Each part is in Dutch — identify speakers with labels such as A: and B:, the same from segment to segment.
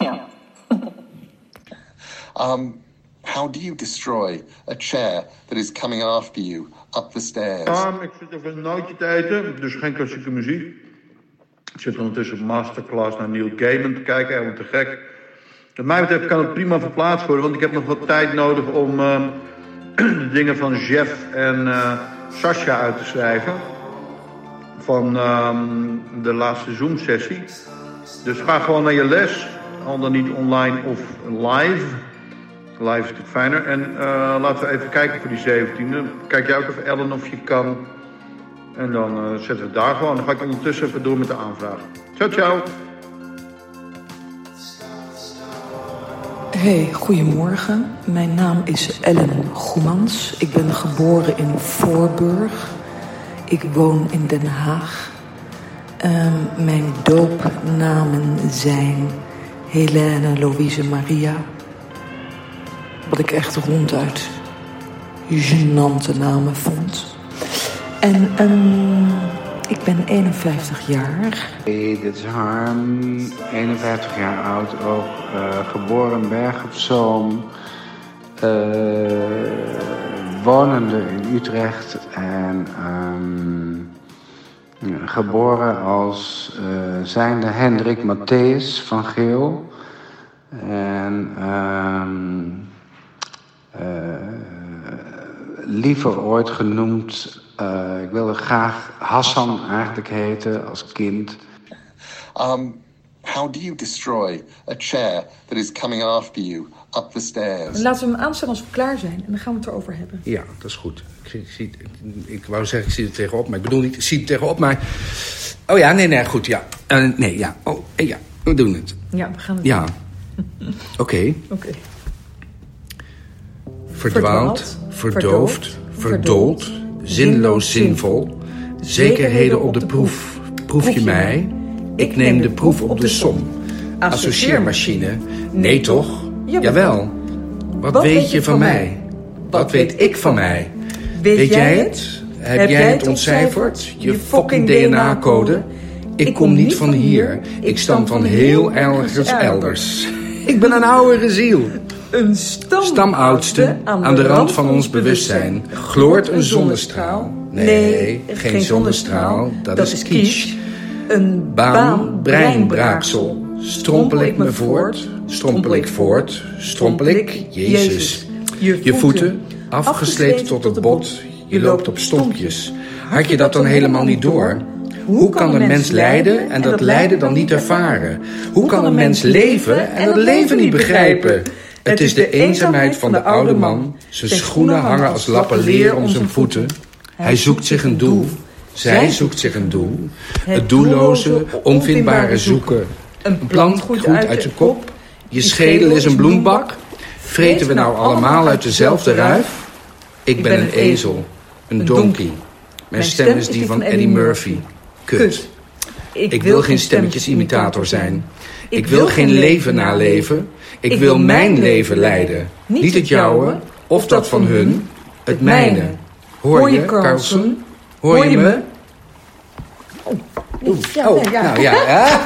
A: Yeah.
B: Um, how do you destroy a chair that is coming after you up the stairs?
C: Sam, ik zit even een nootje te eten, dus geen klassieke muziek. Ik zit ondertussen op masterclass naar Neil Gaiman te kijken, helemaal te gek. Wat mij betreft kan het prima verplaatst worden, want ik heb nog wat tijd nodig om ehm, de dingen van Jeff en eh Sasha uit te schrijven. Van ehm, de laatste Zoom-sessie. Dus ga gewoon naar je les, al dan niet online of live. Live is het fijner. En eh, laten we even kijken voor die 17e. Kijk jij ook even Ellen of je kan. En dan eh, zetten we daar gewoon. Dan ga ik ondertussen even door met de aanvraag. Ciao, ciao.
D: Hey, goedemorgen. Mijn naam is Ellen Goemans. Ik ben geboren in Voorburg. Ik woon in Den Haag. Ehm, mijn doopnamen zijn Helene Louise Maria. Wat ik echt ronduit genante namen vond. En ehm, ik ben 51 jaar.
E: Hey, dit is Harm, 51 jaar oud, ook eh, geboren Berg op Zoom, eh, wonende in Utrecht en ehm, geboren als eh, zijnde Hendrik Matthäus van Geel. En ehm, eh, liever ooit genoemd, eh, ik wilde graag Hassan eigenlijk heten als kind.
B: Um, how do you destroy a chair that is coming after you up the stairs?
F: Laten we hem aanstaan als we klaar zijn. En dan gaan we het erover hebben.
G: Ja, dat is goed. Ik, zie- ik, zie- ik, ik wou zeggen, ik zie er tegenop, maar ik bedoel niet, ik zie er tegenop, maar... Oh ja, nee, nee, goed, ja. Eh, nee, ja, oh, eh, ja, we doen het.
F: Ja, we gaan het
G: Ja. Oké.
F: Oké.
G: Verdwaald, verdoofd,
F: verdoofd,
G: verdold, zinloos zinvol. Zekerheden op de proef. Proef je mij? Ik neem de proef op de som. Associeermachine? Nee toch? Jawel. Wat weet je van mij? Wat weet ik van mij? Weet jij het? Heb jij het ontcijferd? Je fucking DNA-code? Ik kom niet van hier. Ik stam van heel ergens elders. Ik ben een oudere ziel.
F: Een stam
G: Stamoudste, aan de rand van ons bewustzijn, gloort een zonnestraal. Nee, geen zonnestraal, dat is kitsch.
F: Een
G: Baan, breinbraaksel, strompel ik me voort, strompel ik voort, strompel ik, Jezus. Je voeten, afgesleept tot het bot, je loopt op stompjes. Had je dat dan helemaal niet door? Hoe kan een mens lijden en dat lijden dan niet ervaren? Hoe kan een mens leven en dat leven niet begrijpen? Het is de eenzaamheid van de oude man. Zijn schoenen hangen als lappen leer om zijn voeten. Hij zoekt zich een doel. Zij zoekt zich een doel. Het doelloze, onvindbare zoeken. Een plant groeit uit zijn kop. Je schedel is een bloembak. Vreten we nou allemaal uit dezelfde ruif? Ik ben een ezel. Een donkey. Mijn stem is die van Eddie Murphy. Kut. Ik wil geen stemmetjesimitator zijn. Ik wil geen leven naleven. Ik wil mijn leven leiden. Niet het jouwe, of dat van hun, het mijne. Hoor je, Carlsen? Hoor je me? Oh, nou ja.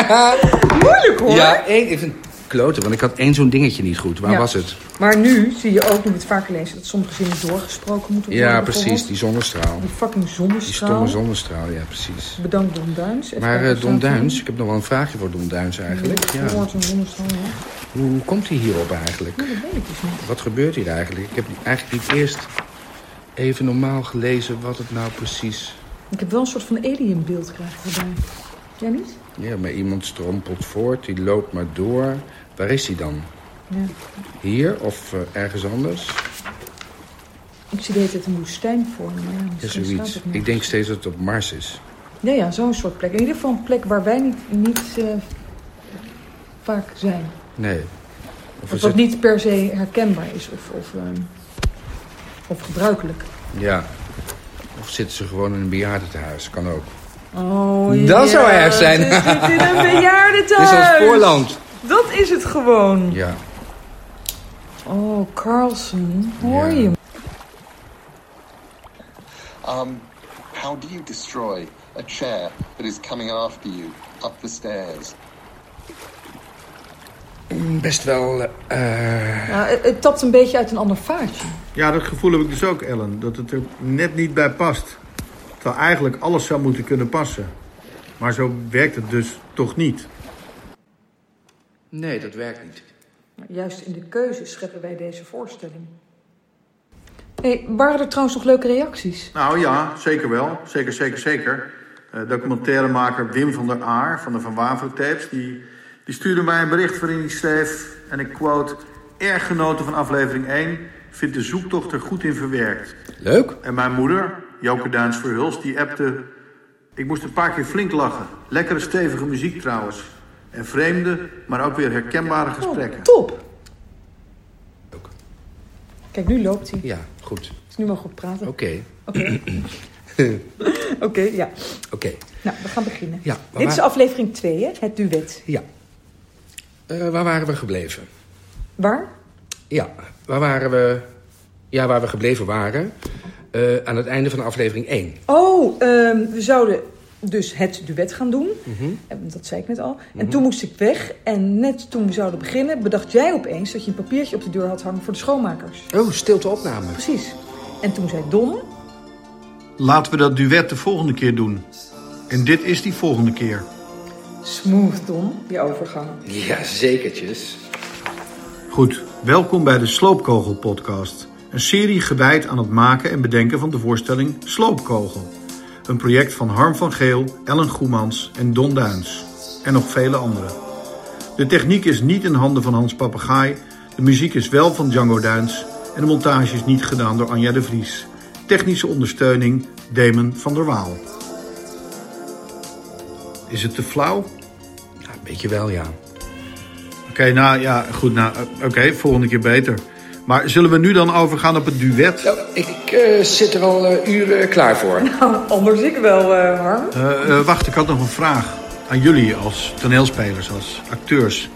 F: Moeilijk hoor.
G: Ja, één, ik vind kloten, want ik had één zo'n dingetje niet goed. Waar
F: Ja.
G: was het?
F: Maar nu zie je ook, nu we het vaker lezen, dat sommige zinnen doorgesproken moeten worden.
G: Ja, precies,
F: bijvoorbeeld.
G: die zonnestraal.
F: Die fucking
G: Die
F: zonnestraal.
G: stomme zonnestraal, ja, precies.
F: Bedankt Don Duins. Even
G: Maar
F: kijken,
G: eh
F: staat
G: Don
F: er-
G: Duins, ik heb nog wel een vraagje voor Don Duins eigenlijk. Ja.
F: Er wordt een zonnestraal, ja.
G: Hoe, hoe komt hij hierop eigenlijk?
F: Oh, Dat weet ik dus niet.
G: Wat gebeurt hier eigenlijk? Ik heb Ah, eigenlijk niet eerst even normaal gelezen wat het nou precies...
F: Ik heb wel een soort van alienbeeld krijg ik erbij. Jij niet?
G: Ja, maar iemand strompelt voort, die loopt maar door. Waar is hij dan?
F: Ja.
G: Hier of eh, ergens anders?
F: Ik zie de hele tijd een woestijn voor me. maar Ja,
G: Ja,
F: misschien staat
G: zoiets.
F: het niet.
G: Ik denk steeds dat het op Mars is.
F: Ja, ja, zo'n soort plek. In ieder geval een plek waar wij niet, niet eh, vaak zijn.
G: Nee. Of
F: Of
G: is
F: wat
G: het...
F: niet per se herkenbaar is of, of, eh, of gebruikelijk.
G: Ja. Of zitten ze gewoon in een bejaardentehuis? Kan ook.
F: Oh,
G: Dat
F: ja,
G: zou erg zijn.
F: Ze zitten in een bejaardentehuis.
G: Dit is als voorland.
F: Dat is het gewoon.
G: Ja.
F: Oh, Carlson, hoor
G: Ja.
F: je me?
B: Um, how do you destroy a chair that is coming after you up the stairs?
G: best wel... eh,
F: Nou, het, het tapt een beetje uit een ander vaartje.
C: Ja, dat gevoel heb ik dus ook, Ellen. Dat het er net niet bij past. Terwijl eigenlijk alles zou moeten kunnen passen. Maar zo werkt het dus toch niet.
G: Nee, dat werkt niet.
F: Maar juist in de keuze scheppen wij deze voorstelling. Hey, waren er trouwens nog leuke reacties?
C: Nou ja, zeker wel. Zeker, zeker, zeker. Eh, documentairemaker Wim van der Aar van de Van Waveren Tapes... Die, die stuurde mij een bericht waarin hij schreef... en ik quote... Erg genoten van aflevering 1... vindt de zoektocht er goed in verwerkt.
G: Leuk?
C: En mijn moeder, Joke Duins Verhulst, die appte... Ik moest een paar keer flink lachen. Lekkere stevige muziek trouwens. En vreemde, maar ook weer herkenbare gesprekken.
F: Top!
G: Leuk.
F: Kijk, nu loopt hij.
G: Ja, goed.
F: Dus nu mogen we praten.
G: Oké,
F: Oké, ja.
G: oké.
F: Nou, we gaan beginnen.
G: Ja, maar
F: Dit is
G: waar-
F: aflevering 2, hè? Het duet.
G: Ja. Eh, waar waren we gebleven?
F: Waar?
G: Ja, waar waren we... Ja, waar we gebleven waren. eh, aan het einde van aflevering 1.
F: Oh, ehm, we zouden dus het duet gaan doen.
G: Mhm.
F: Eh, Dat zei ik net al. En toen moest ik weg. En net toen we zouden beginnen, bedacht jij opeens dat je een papiertje op de deur had hangen voor de schoonmakers.
G: Oh, stilte opname.
F: Precies. En toen zei Don,
C: Laten we dat duet de volgende keer doen. En dit is die volgende keer.
F: smooth Don, die overgang.
G: Ja, zekertjes.
C: Goed, welkom bij de Sloopkogel Podcast. Een serie gewijd aan het maken en bedenken van de voorstelling Sloopkogel. Een project van Harm van Geel, Ellen Goemans en Don Duins. En nog vele anderen. De techniek is niet in handen van Hans Papegaai. De muziek is wel van Django Duins. En de montage is niet gedaan door Anja de Vries. Technische ondersteuning Damon van der Waal. Is het te flauw?
G: Ja, een beetje wel, ja.
C: Oké, nou ja, goed. Nou, eh, Oké, volgende keer beter. Maar zullen we nu dan overgaan op het duet?
G: Nou, ik eh, zit er al eh, uren klaar voor.
F: Nou, Anders ik wel, eh, Harm.
C: Eh, eh, wacht, ik had nog een vraag aan jullie als toneelspelers, als acteurs.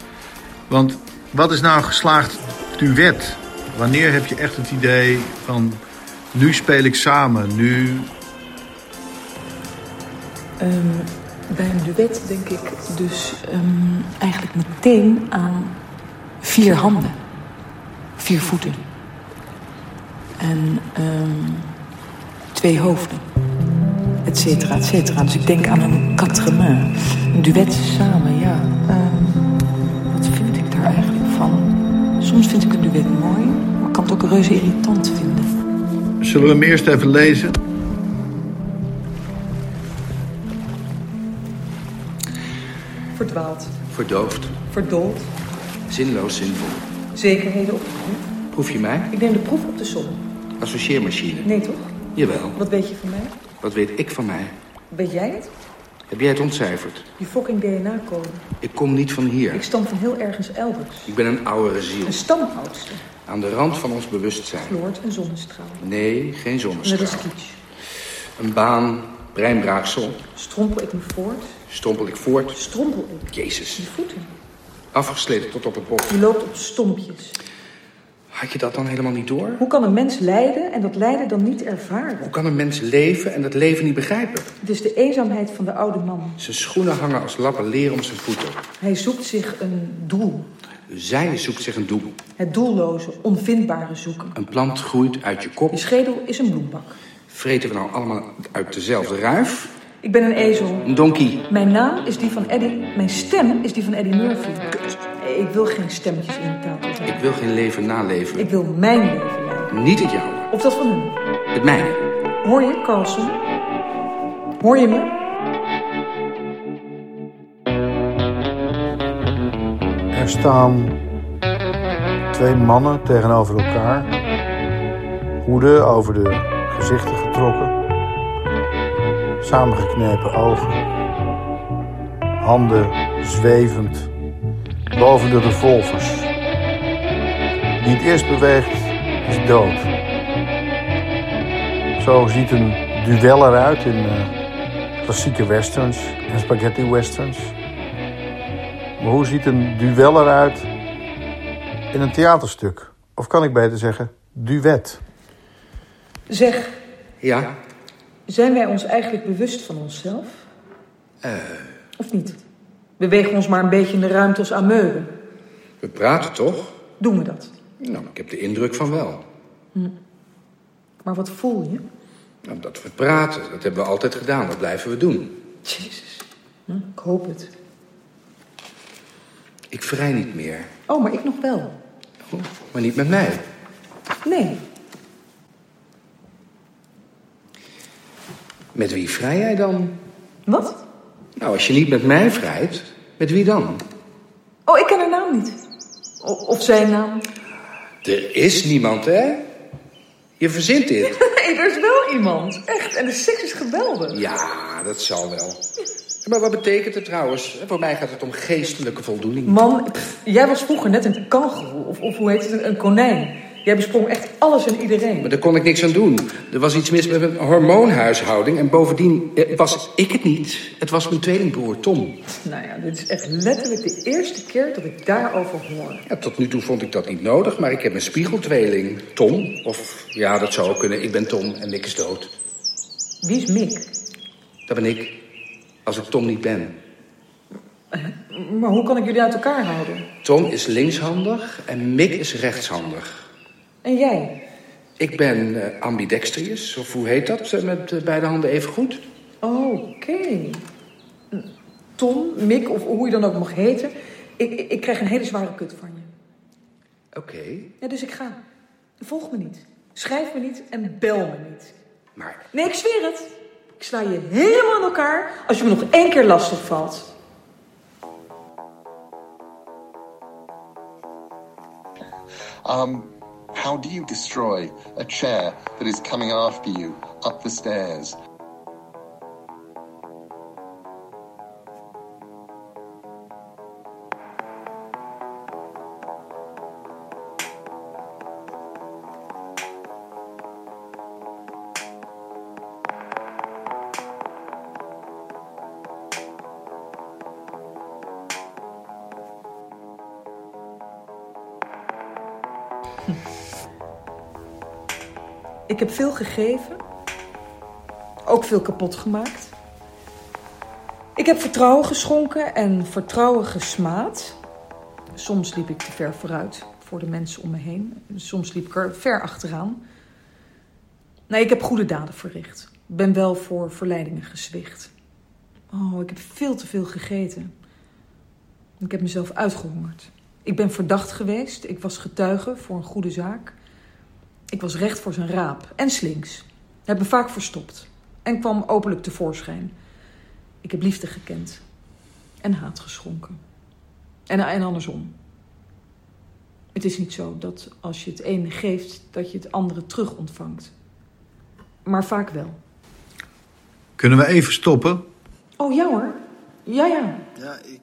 C: Want wat is nou een geslaagd duet? Wanneer heb je echt het idee van nu speel ik samen, nu.
D: Ehm,
F: Bij een duet denk ik
D: dus ehm, eigenlijk meteen aan vier handen, vier voeten en ehm, twee hoofden, et cetera, et cetera. Dus ik denk aan een quatre mains, een duet samen, ja. Ehm, wat vind ik daar eigenlijk van? Soms vind ik een duet mooi, maar ik kan het ook reuze irritant vinden.
C: Zullen we hem eerst even lezen?
F: verdwaald,
G: Verdoofd.
F: verdoold,
G: Zinloos zinvol.
F: zekerheden opgevoed.
G: Proef je mij?
F: Ik neem de proef op de som.
G: Associeermachine.
F: Nee toch?
G: Jawel.
F: Wat weet je van mij?
G: Wat weet ik van mij?
F: Weet jij het?
G: Heb jij het ontcijferd?
F: Je fucking DNA-code.
G: Ik kom niet van
F: Ik
G: hier.
F: stam van heel ergens elders.
G: Ik ben een oudere ziel.
F: Een stamhoudster.
G: Aan de rand van ons bewustzijn.
F: Noord en zonnestraal.
G: Nee, geen
F: Net als
G: zonnestraal.
F: kitsch.
G: Een baan, breinbraaksel.
F: Strompel ik me voort?
G: Stompel ik voort.
F: Strompel ik?
G: Jezus.
F: Je voeten.
G: Afgesleten tot op het bot.
F: Je loopt op stompjes.
G: Had je dat dan helemaal niet door?
F: Hoe kan een mens lijden en dat lijden dan niet ervaren?
G: Hoe kan een mens leven en dat leven niet begrijpen?
F: Het is de eenzaamheid van de oude man.
G: Zijn schoenen hangen als lappen leer om zijn voeten.
F: Hij zoekt zich een doel.
G: Zij zoekt zich een doel.
F: Het doelloze, onvindbare zoeken.
G: Een plant groeit uit je
F: Je
G: kop.
F: schedel is een bloembak.
G: Vreten we nou allemaal uit dezelfde ruif?
F: Ik ben een ezel.
G: Een donkie.
F: Mijn naam is die van Eddie. Mijn stem is die van Eddie Murphy. Ik wil geen stemmetjes in de tafel.
G: Ik wil geen leven naleven.
F: Ik wil mijn leven leiden.
G: Niet het jouwe.
F: Of dat van hem.
G: Het mijne.
F: Hoor je, Carlson? Hoor je me?
C: Er staan twee mannen tegenover elkaar. Hoeden over de gezichten getrokken. Samengeknepen ogen. Handen zwevend boven de revolvers. Wie het eerst beweegt is dood. Zo ziet een duel eruit in eh, klassieke westerns en spaghetti westerns. Maar hoe ziet een duel eruit in een theaterstuk? Of kan ik beter zeggen, duet?
F: Zeg,
G: Ja?
F: zijn wij ons eigenlijk bewust van onszelf? Of niet? Bewegen we ons maar een beetje in de ruimte als ameuben.
G: We praten toch?
F: Doen we dat?
G: Nou, ik heb de indruk van wel.
F: Maar wat voel je?
G: Nou, dat we praten, dat hebben we altijd gedaan, dat blijven we doen.
F: Jezus. Hm, ik hoop het.
G: Ik vrij niet meer,
F: Oh, maar ik nog wel.
G: Oh, maar niet met mij.
F: Nee.
G: Met wie vrij jij dan?
F: Wat?
G: Nou, als je niet met mij vrijt, met wie dan?
F: Oh, ik ken haar naam niet. O- of zijn naam.
G: Er is niemand, hè? Je verzint dit.
F: Nee, er is wel iemand. Echt. En de seks is geweldig.
G: Ja, dat zal wel. Maar wat betekent het trouwens? Voor mij gaat het om geestelijke voldoening.
F: Man, pff, jij was vroeger net een kangeroe. Of, of hoe heet het? Een, een konijn. Jij besprong echt alles en iedereen.
G: Maar daar kon ik niks aan doen. Er was iets mis met mijn hormoonhuishouding. En bovendien eh, was ik het niet. Het was mijn tweelingbroer Tom.
F: Nou ja, dit is echt letterlijk de eerste keer dat ik daarover hoor.
G: Ja, tot nu toe vond ik dat niet nodig, maar ik heb een spiegeltweeling. Tom, of ja, dat zou ook kunnen. Ik ben Tom en Mick is dood.
F: Wie is Mick?
G: Dat ben ik, als ik Tom niet ben.
F: Maar hoe kan ik jullie uit elkaar houden?
G: Tom is linkshandig en Mick is rechtshandig.
F: En jij?
G: Ik ben eh, ambidextrius, of hoe heet dat? eh, Met eh, beide handen even goed.
F: Oh, Oké. Tom, Mick of hoe je dan ook mag heten. Ik, ik, ik krijg een hele zware kut van je.
G: Oké,
F: Ja, dus ik ga. Volg me niet. Schrijf me niet en bel me niet.
G: maar
F: Nee, ik zweer het. Ik sla je helemaal in elkaar als je me nog één keer lastig valt.
B: Um, how do you destroy a chair that is coming after you up the stairs?
F: Ik heb veel gegeven. Ook veel kapot gemaakt. Ik heb vertrouwen geschonken en vertrouwen gesmaad. Soms liep ik te ver vooruit voor de mensen om me heen. Soms liep ik er ver achteraan. Nee, ik heb goede daden verricht. Ben wel voor verleidingen gezwicht. Oh, ik heb veel te veel gegeten. Ik heb mezelf uitgehongerd. Ik ben verdacht geweest. Ik was getuige voor een goede zaak. Ik was recht voor zijn raap en slinks. Heb me vaak verstopt en kwam openlijk tevoorschijn. Ik heb liefde gekend en haat geschonken. En, en andersom. Het is niet zo dat als je het ene geeft, dat je het andere terug ontvangt. Maar vaak wel.
A: Kunnen we even stoppen?
F: Oh ja hoor. Ja, ja.
H: Ja, ik,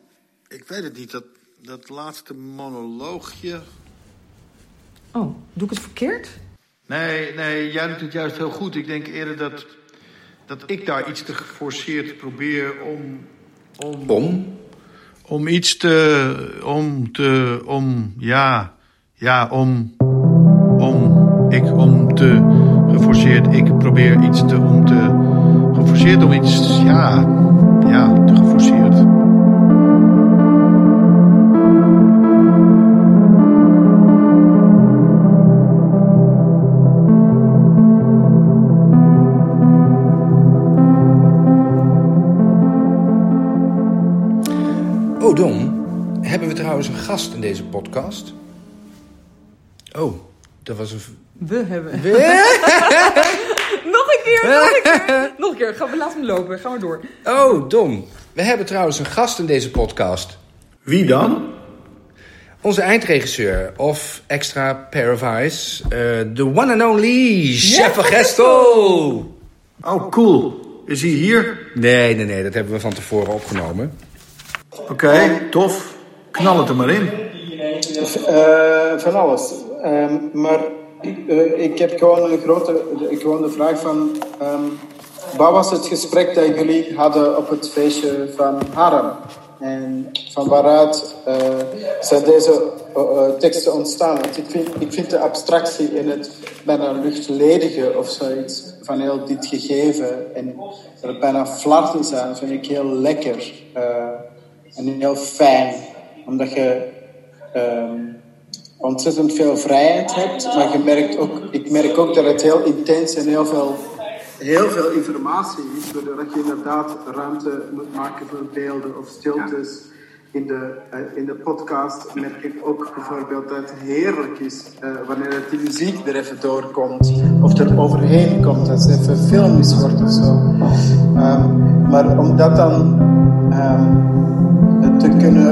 H: ik weet het niet. Dat, dat laatste monoloogje.
F: Oh, doe ik het verkeerd?
C: Nee, nee, jij doet het juist heel goed. Ik denk eerder dat, dat ik daar iets te geforceerd probeer om... Om,
G: om?
C: om iets te... Om te... Om... Ja. Ja, om... Om... Ik om te... Geforceerd. Ik probeer iets te... Om te... Geforceerd om iets... Ja. Ja, te geforceerd.
G: Oh, Dom, hebben we trouwens een gast in deze podcast? Oh, dat was een... v-
F: We hebben. nog een keer, nog een keer. Nog een keer. Gaan we, laat hem lopen. Gaan we door.
G: Oh, Dom, we hebben trouwens een gast in deze podcast.
C: Wie dan?
G: Onze eindregisseur of extra pair of eyes, eh, de one and only Chef van Gestel.
C: Oh, cool. Is hij hier?
G: Nee, nee, nee, dat hebben we van tevoren opgenomen.
C: Oké, tof. Knal het er maar in.
I: Eh, van alles. Ehm, maar ik, eh, ik heb gewoon een grote gewoon de vraag van... ehm, wat was het gesprek dat jullie hadden op het feestje van Haram? En van waaruit eh, zijn deze eh, eh, teksten ontstaan? Want ik vind, ik vind de abstractie in het bijna luchtledige of zoiets... van heel dit gegeven en dat het bijna flarden zijn... vind ik heel lekker eh, en heel fijn. Omdat je ehm, ontzettend veel vrijheid hebt. Maar je merkt ook, ik merk ook dat het heel intens en heel veel, heel veel informatie is. Doordat je inderdaad ruimte moet maken voor beelden of stiltes. In de, eh, in de podcast merk ik ook bijvoorbeeld dat het heerlijk is eh, wanneer het die muziek er even doorkomt. Of er overheen komt, als het even filmisch wordt of zo. Ehm, maar omdat dan... ehm, te kunnen,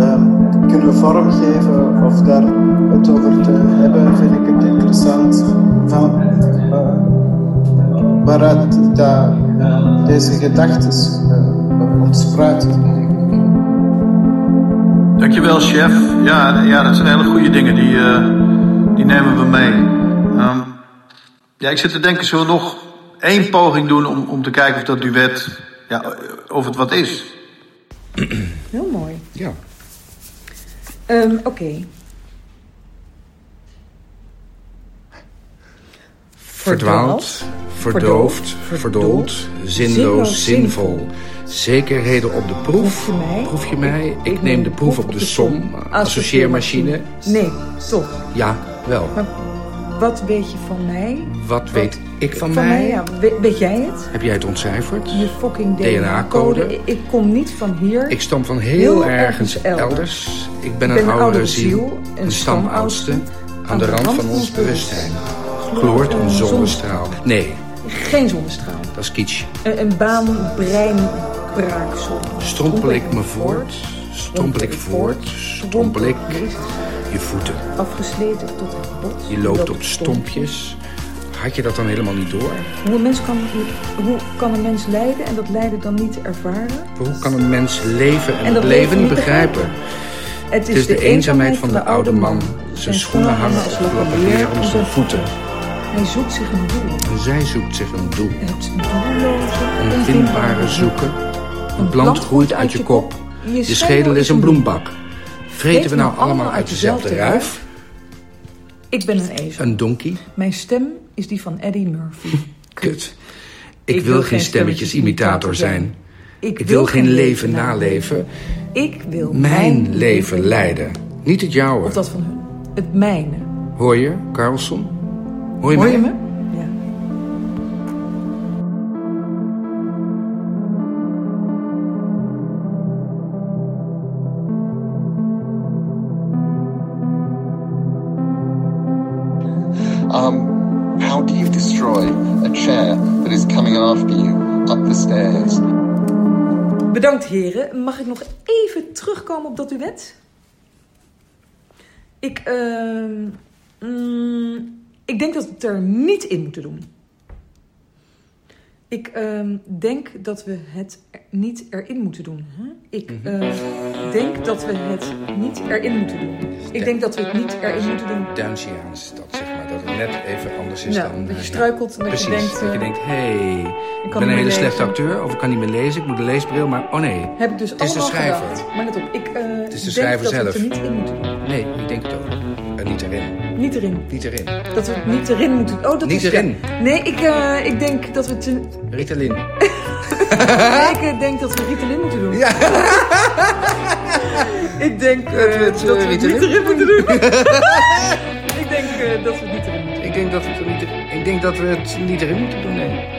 I: ehm, kunnen vormgeven of daar het over te hebben, vind ik het interessant van eh, waaruit dat, eh, deze gedachten eh, ontspruiten.
C: Dankjewel, chef. Ja, ja dat zijn hele goede dingen. Die, eh, die nemen we mee. Ehm, ja, ik zit te denken, zullen we nog één poging doen om, om te kijken of dat duet, ja, eh, of het wat is?
F: Heel mooi.
G: Ja.
F: Ehm, Oké.
G: Verdwaald, verdoofd, verdold, zinloos, zinvol. Zekerheden op de
F: Proef
G: proef.
F: je mij?
G: Proef je mij? Ik neem de proef op de som. Associeermachine.
F: Nee, toch.
G: Ja, wel.
F: Wat weet je van mij?
G: Wat weet ik van
F: Van mij,
G: mij?
F: ja. We- weet jij het?
G: Heb jij het ontcijferd?
F: Je fucking
G: DNA-code.
F: DNA-code. Ik kom niet van hier.
G: Ik stam van
F: Heel
G: heel ergens
F: ergens
G: elders. Ik ben een oudere ziel, een stamoudste. Aan de rand van ons bewustzijn. Gloort een zonnestraal. Nee,
F: Geen zonnestraal.
G: dat is kitsch.
F: Een, een baan, brein, braaksel.
G: Strompel ik me voort, strompel ik voort, strompel ik je voeten.
F: Afgesleten tot het bot.
G: Je loopt op stompjes. Had je dat dan helemaal niet door?
F: Hoe een, mens kan, hoe kan een mens lijden en dat lijden dan niet ervaren?
G: Hoe kan een mens leven en,
F: En dat
G: het leven
F: leven
G: niet
F: niet
G: begrijpen?
F: Het
G: Het is de eenzaamheid van de oude man. Zijn schoenen hangen als lappen leer om zijn voeten.
F: Hij zoekt zich een doel.
G: En zij zoekt zich een doel.
F: Het doelloze,
G: Een vindbare zoeken. Een plant groeit uit je kop. Je schedel is een bloembak. Vreten we nou allemaal uit dezelfde ruif?
F: Ik ben een ezel.
G: Een donkie?
F: Mijn stem is die van Eddie Murphy.
G: Kut. Ik wil geen stemmetjesimitator zijn. Ik wil geen leven naleven.
F: Ik wil
G: Mijn leven leiden. Niet het jouwe.
F: Of dat van hun. Het mijne.
G: Hoor je, Carlson? Hoor je,
F: Hoor
G: mij?
F: je me? Ja.
B: Um, how do you destroy a chair that is coming after you up the stairs?
F: Bedankt heren. Mag ik nog even terugkomen op dat duet? Ik, ehm, mm, ik denk dat we het er niet in moeten doen. Ik ehm, denk dat we het er niet erin moeten doen. Hè? Ik
G: Mhm.
F: ehm, denk dat we het niet erin moeten doen. Ik denk dat we het niet erin moeten doen.
G: Duinsiaans is dat, zeg maar. Dat het net even anders is
F: Ja,
G: dan...
F: dat je
G: eh,
F: struikelt en dat je
G: Precies,
F: denkt,
G: dat
F: eh,
G: je denkt, hé, hey, ik
F: kan niet
G: ben een hele
F: meer
G: slechte
F: lezen.
G: acteur... of ik kan niet meer lezen, ik moet een leesbril, maar oh nee.
F: Heb ik dus
G: Het is de
F: allemaal
G: schrijver.
F: gedaan. Maar let op, ik eh,
G: is de
F: denk
G: schrijver
F: dat we het er
G: zelf.
F: niet in moeten doen.
G: Nee, ik denk het ook. Eh, niet erin.
F: Niet erin.
G: Niet erin.
F: Dat we het niet erin moeten. Oh, dat is
G: Niet
F: ja.
G: erin.
F: Nee, ik, eh, ik denk dat we het. in-
G: Ritalin.
F: Ik eh, denk dat we Ritalin moeten doen. ik denk eh, dat we het niet erin moeten doen. ik denk eh, dat we het niet erin moeten doen.
G: Ik denk dat we het er niet, ik denk dat we het niet erin moeten doen, nee.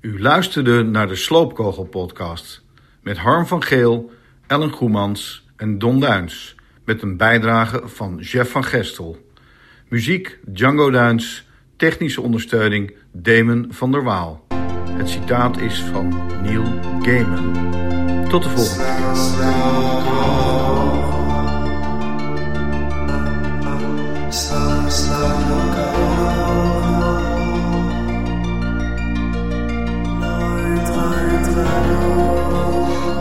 A: U luisterde naar de Sloopkogel-podcast met Harm van Geel, Ellen Goemans en Don Duins. Met een bijdrage van Jeff van Gestel. Muziek Django Duins, technische ondersteuning Damon van der Waal. Het citaat is van Neil Gaiman. Tot de volgende.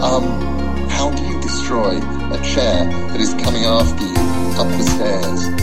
B: Um, how do you destroy a chair that is coming after you up the stairs?